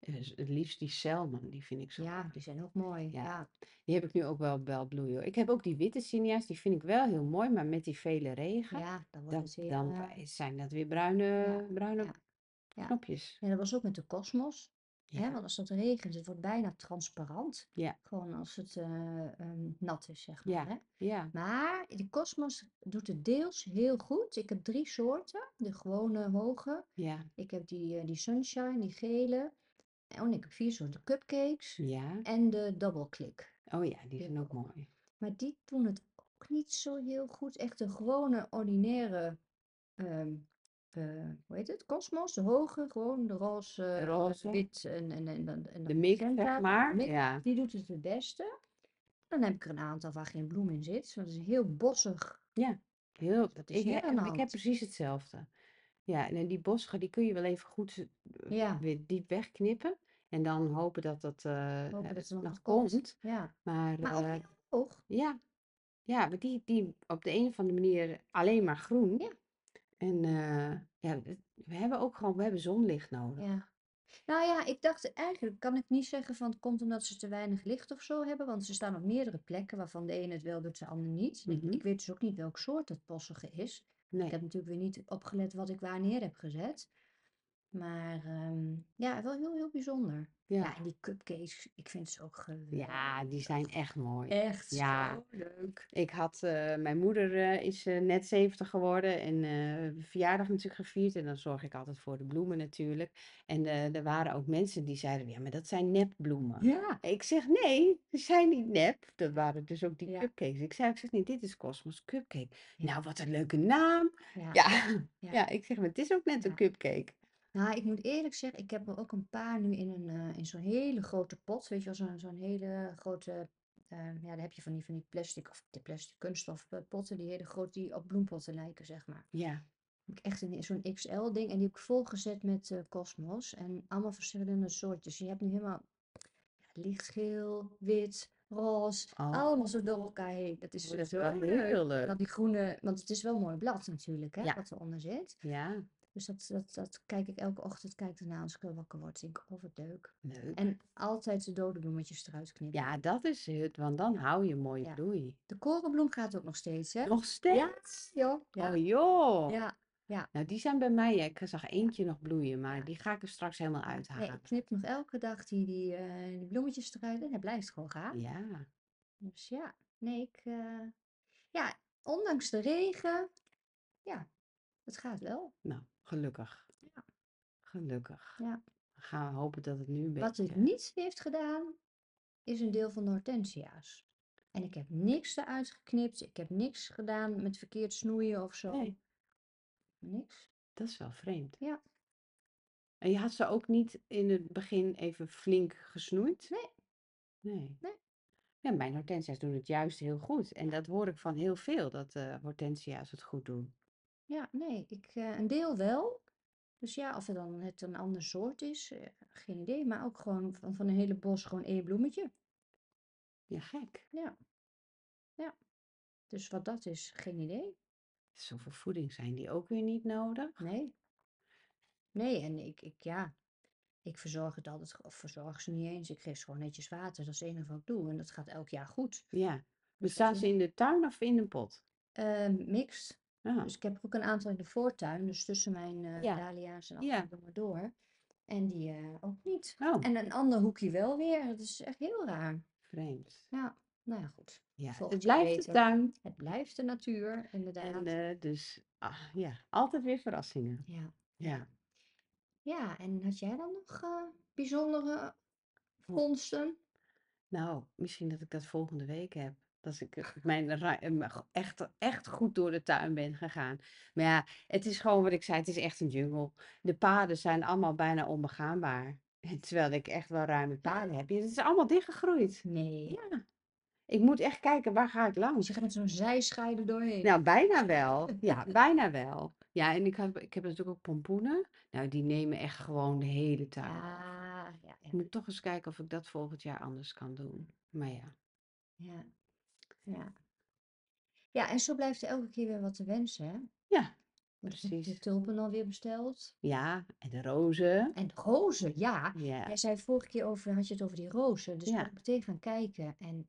S1: Dus het liefst die Selman, die vind ik zo
S2: Ja, die
S1: mooi.
S2: zijn ook mooi.
S1: Ja,
S2: Ja,
S1: die heb ik nu ook wel, wel bloeien. hoor. Ik heb ook die witte zinnia's, die vind ik wel heel mooi. Maar met die vele regen,
S2: ja, dan wordt
S1: dan,
S2: het heel...
S1: dan
S2: eh,
S1: zijn dat weer
S2: ja,
S1: bruine, bruine
S2: ja, ja.
S1: knopjes.
S2: En dat was ook met de kosmos. Hè,
S1: Ja,
S2: want als het regent, het wordt bijna transparant.
S1: ja,
S2: Gewoon als het eh, ehm, nat is, zeg maar.
S1: ja,
S2: Hè.
S1: ja,
S2: Maar de kosmos doet het deels heel goed. Ik heb drie soorten. De gewone hoge.
S1: ja,
S2: Ik heb die, eh, die sunshine, die gele. En oh, ik heb vier soorten cupcakes.
S1: ja.
S2: En de double click.
S1: Oh ja, die
S2: Die heb
S1: zijn
S2: ik
S1: ook
S2: ook.
S1: mooi.
S2: Maar die doen het ook niet zo heel goed. Echt de gewone, ordinaire, ehm, eh, hoe heet het? Kosmos, de hoge, gewoon de roze, eh,
S1: Roze,
S2: wit en, en, en, en, en
S1: de
S2: de
S1: mik, zeg
S2: magenta, de
S1: maar.
S2: mix.
S1: Ja,
S2: Die doet het het beste. Dan heb ik er een aantal waar geen bloem in zit. Dat is heel bossig.
S1: ja. Heel,
S2: Wat is
S1: ik,
S2: hier aan
S1: he-
S2: de
S1: ik heb
S2: hand?
S1: precies hetzelfde. Ja, en die bossen, die kun je wel even goed eh,
S2: Ja,
S1: weer diep wegknippen. En dan hopen dat dat eh, eh,
S2: hopen dat er nog wat
S1: nog
S2: komt.
S1: komt.
S2: Ja,
S1: Maar
S2: maar ook
S1: eh,
S2: heel hoog.
S1: ja, ja maar die, die op de een of andere manier alleen maar groen.
S2: Ja,
S1: En eh, ja, het- we hebben ook gewoon, we hebben zonlicht nodig.
S2: ja. Nou ja, ik dacht eigenlijk kan ik niet zeggen van het komt omdat ze te weinig licht of zo hebben, want ze staan op meerdere plekken waarvan de ene het wel doet, de ander niet. En ik,
S1: Mhm.
S2: ik weet dus ook niet welk soort het bossige is. Ik
S1: Nee,
S2: heb natuurlijk weer niet opgelet wat ik waar neer heb gezet. Maar ehm, ja, wel heel, heel bijzonder.
S1: ja.
S2: Ja, en die cupcakes, ik vind ze ook
S1: Ja, die zijn
S2: geweldig.
S1: echt mooi.
S2: Echt
S1: Ja,
S2: zo leuk.
S1: ik had, eh, mijn moeder eh, is eh, net 70 geworden en eh, de verjaardag natuurlijk gevierd. En dan zorg ik altijd voor de bloemen natuurlijk. En eh, er waren ook mensen die zeiden, ja, maar dat zijn nepbloemen.
S2: Ja,
S1: En Ik zeg, nee, ze zijn niet nep. Dat waren dus ook die
S2: ja,
S1: cupcakes. Ik zei, ik zeg, nee, dit is Cosmos Cupcake.
S2: ja,
S1: Nou, wat een leuke naam.
S2: ja,
S1: Ja,
S2: ja,
S1: ja, ik zeg, maar het is ook net een
S2: ja.
S1: cupcake.
S2: Nou, ik moet eerlijk zeggen, ik heb er ook een paar nu in, een, eh, in zo'n hele grote pot. Weet je wel, zo'n zo'n hele grote. eh, ja, daar heb je van die, van die plastic of de plastic kunststof eh, potten, die hele grote, die op bloempotten lijken, zeg maar.
S1: Ja,
S2: Heb ik Echt een- zo'n XL-ding en die heb ik volgezet met eh kosmos en allemaal verschillende soortjes. Je hebt nu helemaal ja, lichtgeel, wit, roze,
S1: oh,
S2: allemaal zo door elkaar heen. Dat is
S1: oh, dat is wel
S2: zo leuk.
S1: heel
S2: En
S1: leuk.
S2: dan die groene, want het is wel mooi blad natuurlijk, hè,
S1: Ja,
S2: wat eronder zit.
S1: ja,
S2: Dus dat, dat, dat kijk ik elke ochtend, kijk ernaar als ik wel wakker word. Denk ik, oh wat leuk.
S1: leuk.
S2: En altijd de dode bloemetjes eruit knippen.
S1: Ja, dat is het, want dan
S2: Ja,
S1: hou je mooie
S2: ja.
S1: bloei.
S2: De korenbloem gaat ook nog steeds, hè?
S1: Nog
S2: Ja,
S1: steeds?
S2: joh.
S1: Oh
S2: Ja,
S1: joh.
S2: ja, ja,
S1: Nou, die zijn bij mij. hè. Ik zag
S2: ja,
S1: eentje nog bloeien, maar
S2: ja.
S1: die ga ik er straks helemaal
S2: ja. Nee, ik
S1: uithalen.
S2: knip nog elke dag die, die, eh, die bloemetjes eruit en hij blijft gewoon gaan.
S1: Ja,
S2: Dus ja, nee, ik... eh, ja, ondanks de regen, ja, het gaat wel.
S1: nou, gelukkig.
S2: Ja,
S1: Gelukkig.
S2: ja.
S1: Dan gaan we hopen dat het nu een
S2: Wat het
S1: beetje.
S2: niet heeft gedaan, is een deel van de hortensia's. En ik heb niks eruit geknipt. Ik heb niks gedaan met verkeerd snoeien of zo.
S1: Nee,
S2: Niks.
S1: dat is wel vreemd.
S2: Ja,
S1: En je had ze ook niet in het begin even flink gesnoeid?
S2: nee,
S1: Nee.
S2: nee.
S1: Ja, mijn hortensia's doen het juist heel goed. En
S2: Ja,
S1: dat hoor ik van heel veel, dat eh hortensia's het goed doen.
S2: ja nee. Ik, eh, een deel wel. Dus ja, of het dan het een ander soort is, eh, geen idee. Maar ook gewoon van, van een hele bos gewoon één bloemetje.
S1: Ja, gek.
S2: Ja, ja. Dus wat dat is, geen idee.
S1: Zoveel voeding zijn die ook weer niet nodig.
S2: Nee, nee. En ik, ik ja, ik verzorg het altijd, ge- of verzorg ze niet eens. Ik geef ze gewoon netjes water. Dat is het enige wat ik doe. En dat gaat elk jaar goed.
S1: Ja.
S2: Dus dat
S1: Bestaan
S2: is
S1: ze in de tuin of in een pot? Ah.
S2: eh, mixed.
S1: Ja.
S2: Dus ik heb er ook een aantal in de voortuin, dus tussen mijn eh
S1: Ja.
S2: dahlia's en
S1: Ja.
S2: afbloemen door. En die eh, ook niet.
S1: Oh,
S2: En een ander hoekje wel weer. Dat is echt heel raar.
S1: vreemd.
S2: Ja, nou ja, goed.
S1: Ja, het
S2: Volgend jaar
S1: blijft de
S2: beter.
S1: tuin.
S2: Het blijft de natuur,
S1: En
S2: inderdaad.
S1: eh, dus, ah, ja, altijd weer verrassingen.
S2: Ja, ja.
S1: Ja.
S2: Ja, en had jij dan nog eh, bijzondere
S1: Oh,
S2: vondsten?
S1: Nou, misschien dat ik dat volgende week heb. Dat ik eh, mijn ra- eh, mijn go- echt, echt goed door de tuin ben gegaan. Maar ja, het is gewoon wat ik zei, het is echt een jungle. De paden zijn allemaal bijna onbegaanbaar. Terwijl ik echt wel ruime paden heb. Het is allemaal dichtgegroeid.
S2: Nee.
S1: Ja, ik moet echt kijken, waar ga
S2: Dus
S1: ik
S2: je
S1: langs?
S2: gaat met zo'n zijscheid er doorheen.
S1: Nou, bijna wel. Ja, bijna wel. Ja, en ik heb, ik heb natuurlijk ook pompoenen. Nou, die nemen echt gewoon de hele tuin over.
S2: Ja, Ah, ja, ja,
S1: Ik moet toch eens kijken of ik dat volgend jaar anders kan doen. Maar ja.
S2: ja, ja. Ja, en zo blijft er elke keer weer wat te wensen, hè?
S1: Ja,
S2: Want ik heb de
S1: precies.
S2: tulpen alweer besteld.
S1: Ja, en de rozen.
S2: En de rozen, ja.
S1: Ja,
S2: Jij zei vorige keer over, had je het over die rozen. Dus ben
S1: ja.
S2: ik meteen gaan kijken. En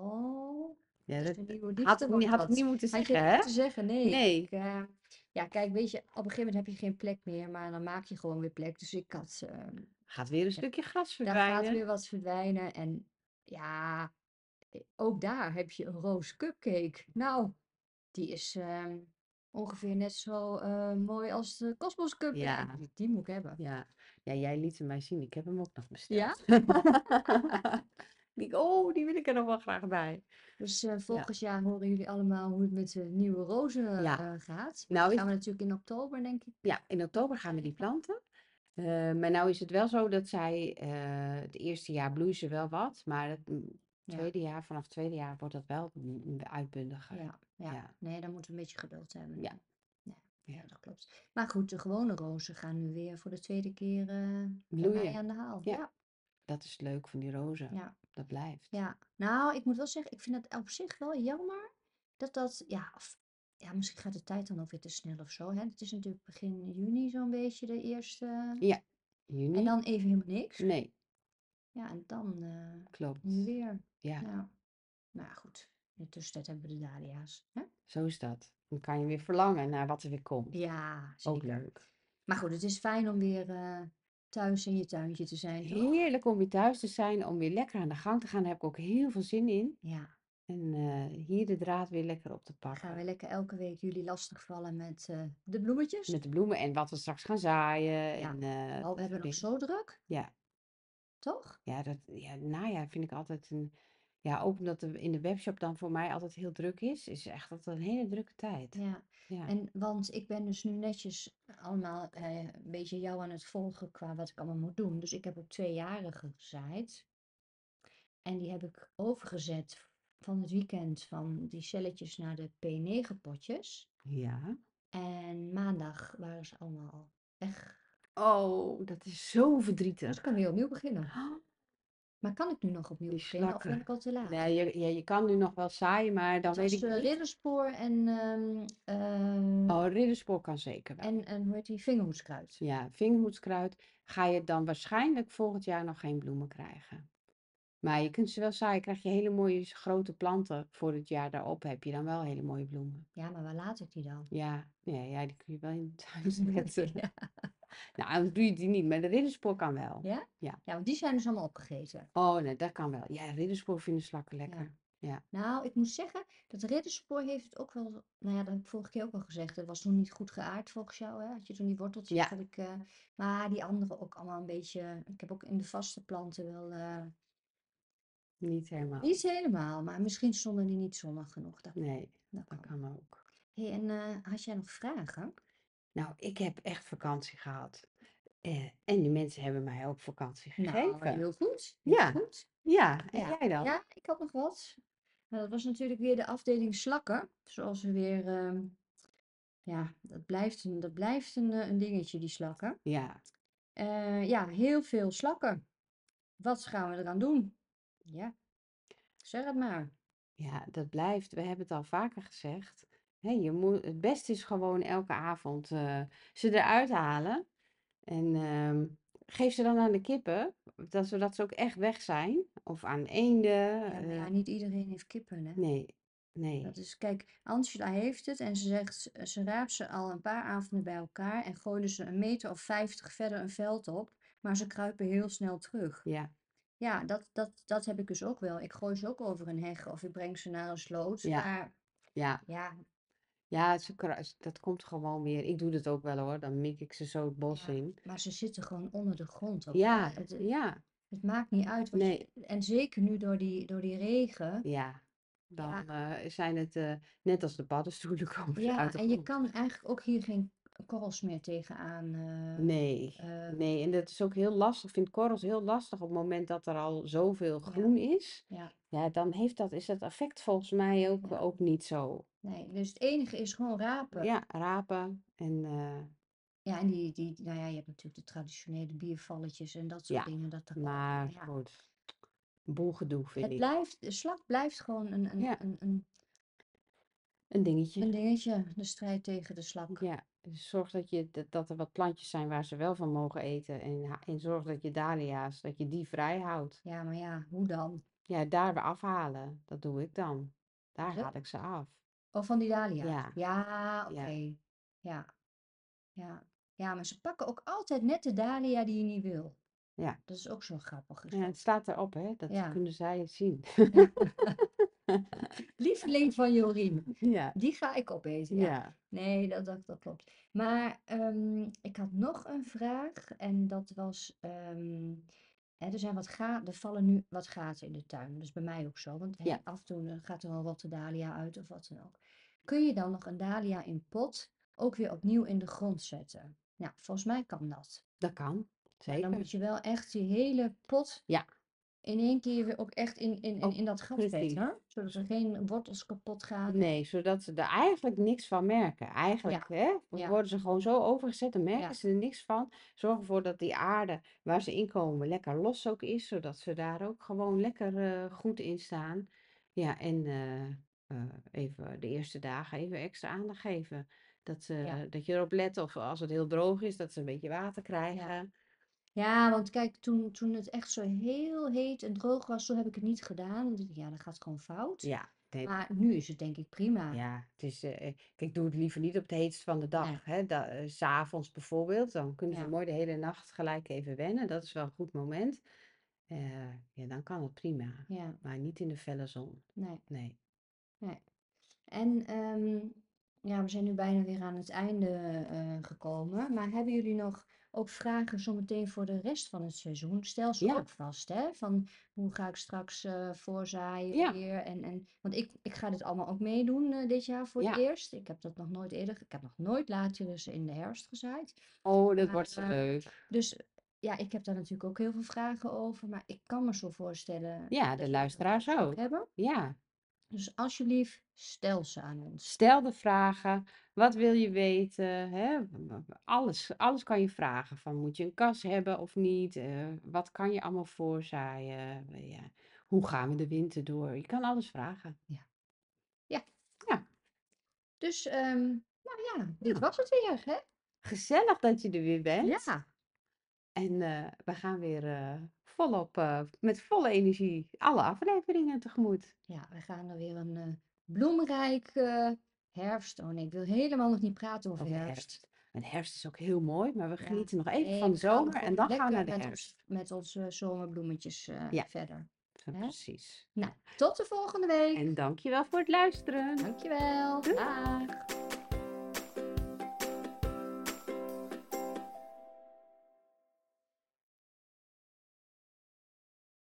S2: oh,
S1: Ja,
S2: dus
S1: dat
S2: de nieuwe
S1: had
S2: liefde
S1: ik,
S2: was
S1: niet- had ik niet
S2: dat.
S1: moeten
S2: Had je
S1: zeggen,
S2: het
S1: hè?
S2: moeten zeggen? Nee. Ik,
S1: Nee.
S2: eh, ja, kijk, weet je, op een gegeven moment heb je geen plek meer. Maar dan maak je gewoon weer plek. Dus ik had, eh,
S1: Gaat weer een
S2: ja,
S1: stukje gras
S2: daar gaat
S1: verdwijnen.
S2: weer wat verdwijnen. En ja, eh, ook daar heb je een roos cupcake. Nou, die is ehm, ongeveer net zo eh, mooi als de Cosmos cupcake.
S1: Ja,
S2: Die, die moet ik hebben.
S1: ja. Ja, jij liet hem mij zien. Ik heb hem ook nog
S2: Ja?
S1: besteld. Die, oh, die wil ik er nog wel graag bij.
S2: Dus eh,
S1: Ja,
S2: volgend jaar horen jullie allemaal hoe het met de nieuwe rozen
S1: ja.
S2: eh, gaat. Die
S1: Nou is
S2: gaan we natuurlijk in oktober, denk ik.
S1: Ja, in oktober gaan we die planten. Eh, maar nou is het wel zo dat zij, eh, het eerste jaar bloeien ze wel wat, maar het mm,
S2: Ja,
S1: tweede jaar, vanaf het tweede jaar wordt dat wel mm, uitbundiger.
S2: ja, ja.
S1: Ja,
S2: Nee, daar moeten we een beetje geduld hebben.
S1: ja,
S2: Nee. Ja,
S1: ja.
S2: nee, dat klopt. Maar goed, de gewone rozen gaan nu weer voor de tweede keer eh, bij mij
S1: Bloeien.
S2: aan de haal.
S1: Ja,
S2: Ja,
S1: dat is leuk van die rozen.
S2: ja,
S1: Dat blijft.
S2: ja. Nou, ik moet wel zeggen, ik vind het op zich wel jammer dat dat, ja, of- ja, misschien gaat de tijd dan ook weer te snel of zo. Hè? Het is natuurlijk begin juni zo'n beetje de eerste.
S1: Ja,
S2: En
S1: juni?
S2: dan even helemaal niks.
S1: Nee,
S2: Ja, en dan eh, nu
S1: klopt.
S2: weer. Ja.
S1: Ja,
S2: Nou ja, goed. In de tussentijd hebben we de dahlia's. Hè?
S1: zo is dat. Dan kan je weer verlangen naar wat er weer komt.
S2: Ja,
S1: Ook
S2: zeker.
S1: leuk.
S2: Maar goed, het is fijn om weer eh, thuis in je tuintje te zijn, toch?
S1: Heerlijk om weer thuis te zijn, om weer lekker aan de gang te gaan. Daar heb ik ook heel veel zin in.
S2: Ja.
S1: En eh, hier de draad weer lekker op te
S2: Gaan
S1: pakken.
S2: we lekker elke week jullie lastigvallen met eh, de bloemetjes?
S1: Met de bloemen en wat we straks gaan zaaien.
S2: Ja.
S1: En eh,
S2: Oh, we hebben
S1: dat soort
S2: nog
S1: dingen.
S2: zo druk,
S1: Ja,
S2: toch?
S1: ja, dat, ja, najaar vind ik altijd een. Ja, ook omdat er in de webshop dan voor mij altijd heel druk is, is echt altijd een hele drukke tijd.
S2: Ja.
S1: Ja,
S2: En want ik ben dus nu netjes allemaal eh, een beetje jou aan het volgen qua wat ik allemaal moet doen. Dus ik heb op tweejarigen gezaaid. En die heb ik overgezet van het weekend van die celletjes naar de P9-potjes.
S1: ja.
S2: En maandag waren ze allemaal al weg.
S1: Oh, dat is zo
S2: Dus ik kan
S1: verdrietig.
S2: weer opnieuw beginnen.
S1: Ah,
S2: Maar kan ik nu nog opnieuw
S1: die
S2: beginnen of ben
S1: slakken.
S2: ik al te laat?
S1: Nee, je, ja, je kan nu nog wel zaaien, maar dan
S2: Het
S1: weet
S2: was
S1: ik
S2: eh,
S1: niet.
S2: ridderspoor en, ehm, eh,
S1: Oh, ridderspoor kan zeker wel.
S2: en, en hoe heet die, vingerhoedskruid.
S1: Ja, vingerhoedskruid ga je dan waarschijnlijk volgend jaar nog geen bloemen krijgen. Maar je kunt ze wel zaaien, krijg je hele mooie s- grote planten voor het jaar daarop. Heb je dan wel hele mooie bloemen.
S2: Ja, maar waar laat ik die dan?
S1: Ja, ja, ja die kun je wel in de tuin zetten.
S2: Ja.
S1: Nou, anders doe je die niet, maar de ridderspoor kan wel.
S2: Ja?
S1: Ja.
S2: Ja, want die zijn dus allemaal opgegeten.
S1: Oh, nee, dat kan wel. Ja, ridderspoor vinden slakken
S2: Ja.
S1: lekker. Ja,
S2: Nou, ik moet zeggen, dat ridderspoor heeft het ook wel. Nou ja, dat heb ik vorige keer ook al gezegd. Dat was toen niet goed geaard volgens jou, hè? Had je toen die worteltjes?
S1: ja,
S2: Had ik, eh, maar die andere ook allemaal een beetje. Ik heb ook in de vaste planten wel. eh,
S1: niet helemaal.
S2: niet helemaal, maar misschien stonden die niet zonnig genoeg. Dat kan.
S1: Nee,
S2: Dat
S1: dat
S2: kan.
S1: kan ook.
S2: hey, en eh, had jij nog vragen?
S1: Nou, ik heb echt vakantie gehad. Eh, en die mensen hebben mij ook vakantie
S2: Nou,
S1: gegeven.
S2: heel goed. Heel
S1: Ja,
S2: goed.
S1: ja. En
S2: Ja,
S1: jij dan?
S2: ja, ik had nog wat. Nou, dat was natuurlijk weer de afdeling slakken. Zoals we weer. ehm, ja, dat blijft een, dat blijft een, eh, een dingetje, die slakken.
S1: Ja,
S2: Eh, ja, heel veel slakken. Wat gaan we eraan doen? Ja, zeg het maar.
S1: ja, dat blijft. We hebben het al vaker gezegd. Hè, je moet, het beste is gewoon elke avond eh, ze eruit halen. En ehm, geef ze dan aan de kippen, dat, zodat ze ook echt weg zijn. Of aan eenden.
S2: Nou, Ja, maar
S1: eh,
S2: ja, niet iedereen heeft kippen, hè?
S1: nee, Nee.
S2: Dat is, kijk, Angela heeft het en ze zegt, ze raapt ze al een paar avonden bij elkaar en gooien ze een meter of vijftig verder een veld op, maar ze kruipen heel snel terug.
S1: Ja,
S2: Ja, dat, dat, dat heb ik dus ook wel. Ik gooi ze ook over een heg of ik breng ze naar een sloot.
S1: ja,
S2: Maar
S1: ja.
S2: ja,
S1: Ja, ze kruis, dat komt gewoon weer. Ik doe dat ook wel hoor. Dan mik ik ze zo het bos
S2: ja,
S1: in.
S2: maar ze zitten gewoon onder de grond ook. hè.
S1: Ja,
S2: Het, het,
S1: ja.
S2: het maakt niet uit wat
S1: Nee,
S2: je. En zeker nu door die, door die regen.
S1: ja. Dan
S2: Ja,
S1: eh, zijn het eh, net als de paddenstoelen komen ze uit
S2: ja,
S1: de
S2: en je
S1: grond.
S2: kan eigenlijk ook hier geen korrels meer tegenaan.
S1: Nee,
S2: eh, eh,
S1: nee. En dat is ook heel lastig. Ik vind korrels heel lastig op het moment dat er al zoveel
S2: ja,
S1: groen is.
S2: ja,
S1: Ja, dan heeft dat, is dat effect volgens mij ook,
S2: ja.
S1: ook niet zo.
S2: Nee, dus het enige is gewoon rapen.
S1: Ja, rapen en eh,
S2: Ja, en die, die, nou ja, je hebt natuurlijk de traditionele biervalletjes en dat soort
S1: ja.
S2: dingen. Dat, dat, dat-
S1: Maar
S2: ja.
S1: goed, een boel gedoe vind
S2: Het
S1: ik.
S2: blijft, de slag blijft gewoon een, een,
S1: Ja,
S2: een, een,
S1: een dingetje.
S2: een dingetje, de strijd tegen de slak.
S1: Ja, dus zorg dat, je, dat, dat er wat plantjes zijn waar ze wel van mogen eten. En, ha- en zorg dat je dahlia's, dat je die vrij houdt.
S2: Ja, maar ja, hoe dan?
S1: Ja, daar weer afhalen. Dat doe ik dan. Daar
S2: Zo?
S1: haal ik ze af.
S2: Oh, van die dahlia's.
S1: Ja,
S2: Ja, oké.
S1: ja.
S2: Ja, ja. Ja, maar ze pakken ook altijd net de dahlia die je niet wil.
S1: Ja,
S2: Dat is ook zo grappig, is
S1: ja het
S2: dat.
S1: staat erop, hè? Dat
S2: Ja.
S1: kunnen zij zien.
S2: Ja. Lieveling van Jorien.
S1: Ja,
S2: Die ga ik opeten, ja.
S1: ja.
S2: Nee, dat, dat, dat klopt. Maar ehm, ik had nog een vraag en dat was, ehm, hè, er zijn wat ga er vallen nu wat gaten in de tuin. Dat is bij mij ook zo, want hè,
S1: Ja,
S2: af en toe eh, gaat er een rotte dahlia uit of wat dan ook. Kun je dan nog een dahlia in pot ook weer opnieuw in de grond zetten? Nou, volgens mij kan dat.
S1: dat kan.
S2: Maar dan
S1: Zeker.
S2: moet je wel echt die hele pot
S1: Ja,
S2: in één keer weer ook echt in, in, in,
S1: ook
S2: in dat gat
S1: precies.
S2: zetten, zodat er geen wortels kapot gaan. en-
S1: Nee, zodat ze er eigenlijk niks van merken. Eigenlijk
S2: Ja,
S1: hè,
S2: ja,
S1: worden ze gewoon zo overgezet, dan merken
S2: ja,
S1: ze er niks van. Zorg ervoor dat die aarde waar ze in komen lekker los ook is, zodat ze daar ook gewoon lekker eh, goed in staan. Ja, en eh, eh, even de eerste dagen even extra aandacht geven. Dat,
S2: ja,
S1: ze, dat je erop let of als het heel droog is, dat ze een beetje water
S2: ja.
S1: krijgen.
S2: Ja, want kijk, toen, toen het echt zo heel heet en droog was, toen heb ik het niet gedaan. Want ik dacht, ja, dat gaat gewoon fout.
S1: Ja, nee,
S2: Maar nu is het denk ik prima.
S1: Ja, het is, eh, eh, kijk, doe het liever niet op het heetst van de
S2: Nee,
S1: dag. Hè? Da, eh, 's avonds bijvoorbeeld, dan kunnen ze
S2: ja,
S1: mooi de hele nacht gelijk even wennen. Dat is wel een goed moment. Eh, ja, dan kan het prima.
S2: ja,
S1: Maar niet in de felle zon.
S2: nee,
S1: Nee.
S2: nee. En ehm, ja, we zijn nu bijna weer aan het einde eh, gekomen. Maar hebben jullie nog ook vragen zometeen voor de rest van het seizoen? Stel ze
S1: Ja,
S2: ook vast, hè? Van hoe ga ik straks eh, voorzaaien
S1: ja,
S2: weer? En, en, want ik, ik ga dit allemaal ook meedoen eh, dit jaar voor het
S1: ja.
S2: eerst. Ik heb dat nog nooit eerder, ik heb nog nooit laatjurussen in de herfst gezaaid.
S1: Oh, dat
S2: Maar,
S1: wordt zo
S2: eh,
S1: leuk.
S2: dus ja, ik heb daar natuurlijk ook heel veel vragen over. Maar ik kan me zo voorstellen
S1: Ja, de
S2: dat jullie dat
S1: luisteraars
S2: straks ook
S1: ook.
S2: hebben.
S1: Ja.
S2: Dus alsjeblieft, stel ze aan ons.
S1: Stel de vragen. Wat wil je weten? Hè? Alles, alles kan je vragen. Van moet je een kas hebben of niet? Eh, wat kan je allemaal voorzaaien? Eh, Ja. Hoe gaan we de winter door? Je kan alles vragen.
S2: Ja. Ja.
S1: Ja,
S2: Dus, ehm, nou ja, dit
S1: nou,
S2: was het weer, hè?
S1: gezellig dat je er weer bent.
S2: Ja,
S1: En eh, we gaan weer eh, volop, eh, met volle energie, alle afleveringen tegemoet.
S2: ja, we gaan er weer een eh, bloemrijk eh, herfst. Oh nee, ik wil helemaal nog niet praten over
S1: Over de
S2: herfst.
S1: herfst. Want herfst is ook heel mooi, maar we
S2: Ja,
S1: genieten nog even
S2: nee,
S1: van de
S2: we gaan
S1: zomer
S2: nog
S1: en
S2: even
S1: dan gaan we
S2: lekker
S1: naar de
S2: met ons,
S1: herfst.
S2: met onze zomerbloemetjes eh,
S1: Ja,
S2: verder.
S1: eh,
S2: Hè?
S1: precies.
S2: Nou,
S1: Nou.
S2: tot de volgende week.
S1: En dankjewel voor het luisteren.
S2: Dankjewel.
S1: Doei!
S2: Dag.